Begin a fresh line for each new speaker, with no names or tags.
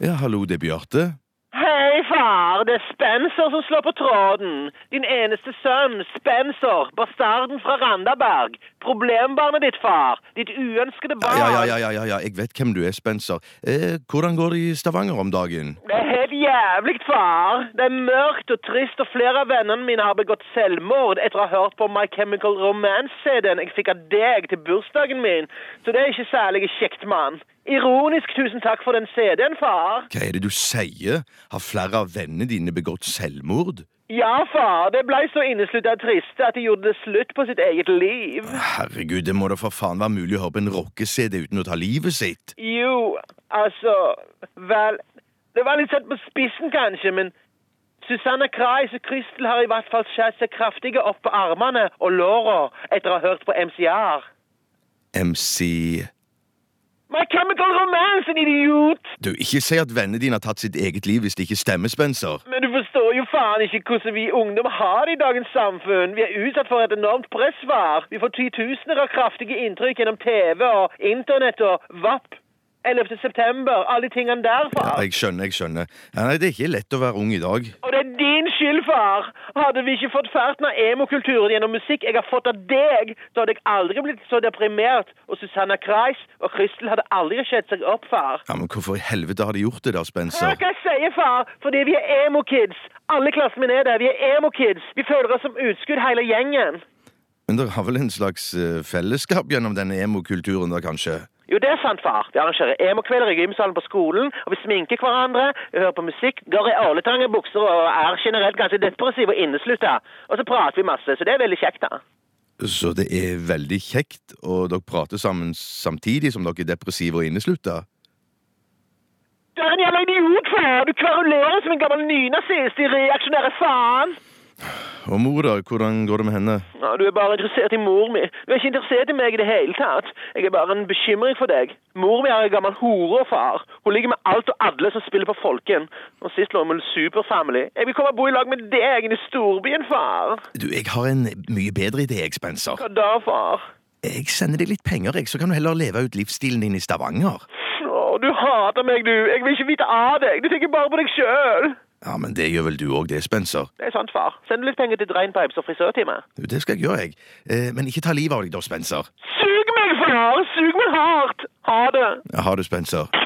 Ja, hallo, det er Bjarte.
Hei, far. Det er Spencer som slår på tråden. Din eneste sønn, Spencer, bastarden fra Randaberg. Problembarnet ditt, far. Ditt uønskede
Ja,
barn.
ja, ja, ja, ja, ja, jeg vet hvem du er, Spencer. Eh, hvordan går det i Stavanger om dagen?
Det er helt jævlig, far. Det er mørkt og trist, og flere av vennene mine har begått selvmord etter å ha hørt på My Chemical Romance-CD-en jeg fikk av deg til bursdagen min. Så det er ikke særlig kjekt, mann. Ironisk tusen takk for den CD-en, far.
Hva er det du sier? Har flere av vennene dine begått selvmord?
Ja, far. Det ble så inneslutta triste at de gjorde det slutt på sitt eget liv.
Herregud, det må da for faen være mulig å høre på en rock-CD uten å ta livet sitt.
Jo, altså Vel Det var litt satt på spissen, kanskje, men Susanne Kreis og Crystal har i hvert fall skjært seg kraftige opp på armene og låra etter å ha hørt på MCR.
MC
My Chemical Romance, en idiot!
Du, ikke si at vennene dine har tatt sitt eget liv hvis det ikke stemmer, Spencer.
Men du forstår jo faen ikke hvordan vi ungdom har det i dagens samfunn. Vi er utsatt for et enormt press, var. Vi får titusener av kraftige inntrykk gjennom TV og internett og VAP. 11. september, alle de tingene der, far.
Ja, jeg skjønner, jeg skjønner. Ja, nei, det er ikke lett å være ung i dag.
Og det er din skyld, far! Hadde vi ikke fått ferten av emokulturen gjennom musikk jeg har fått av deg, så hadde jeg aldri blitt så deprimert, og Susanna Kreis og Crystal hadde aldri skjedd seg opp, far.
Ja, men hvorfor i helvete har de gjort det da, Spencer?
Hør hva jeg sier, far, fordi vi er emo-kids. Alle klassen min er det. Vi er emo-kids. Vi føler oss som utskudd, hele gjengen.
Men dere har vel en slags eh, fellesskap gjennom denne emokulturen da, kanskje?
Jo, det er sant, far. Vi arrangerer emokvelder i gymsalen på skolen, og vi sminker hverandre, vi hører på musikk, går i åletange bukser og er generelt ganske depressive og inneslutta. Og så prater vi masse, så det er veldig kjekt, da.
Så det er veldig kjekt, og dere prater sammen samtidig som dere er depressive og inneslutta?
Du er en jævla idiot, far! Du kverulerer som en gammel nynazist, de reaksjonære faen!
Og mor, da, hvordan går det med henne?
Å, Du er bare interessert i mor mi. Du er ikke interessert i meg i det hele tatt. Jeg er bare en bekymring for deg. Mor mi er en gammel hore og far. Hun ligger med alt og alle som spiller på folken. Og sist lå hun med en superfamily. Jeg vil komme og bo i lag med deg inne i storbyen, far.
Du, jeg har en mye bedre idé, jeg, Spencer.
Hva da, far?
Jeg sender deg litt penger, jeg, så kan du heller leve ut livsstilen din i Stavanger.
Å, du hater meg, du. Jeg vil ikke vite av deg. Du tenker bare på deg sjøl.
Ja, men det gjør vel du òg, det, Spencer.
Det er sant, far. Send litt penger til Drainpipes og frisørtime.
Du, Det skal jeg gjøre, jeg. Eh, men ikke ta livet av deg, da, Spencer.
Sug meg, far! Sug meg hardt! Ha det.
Ha det, Spencer.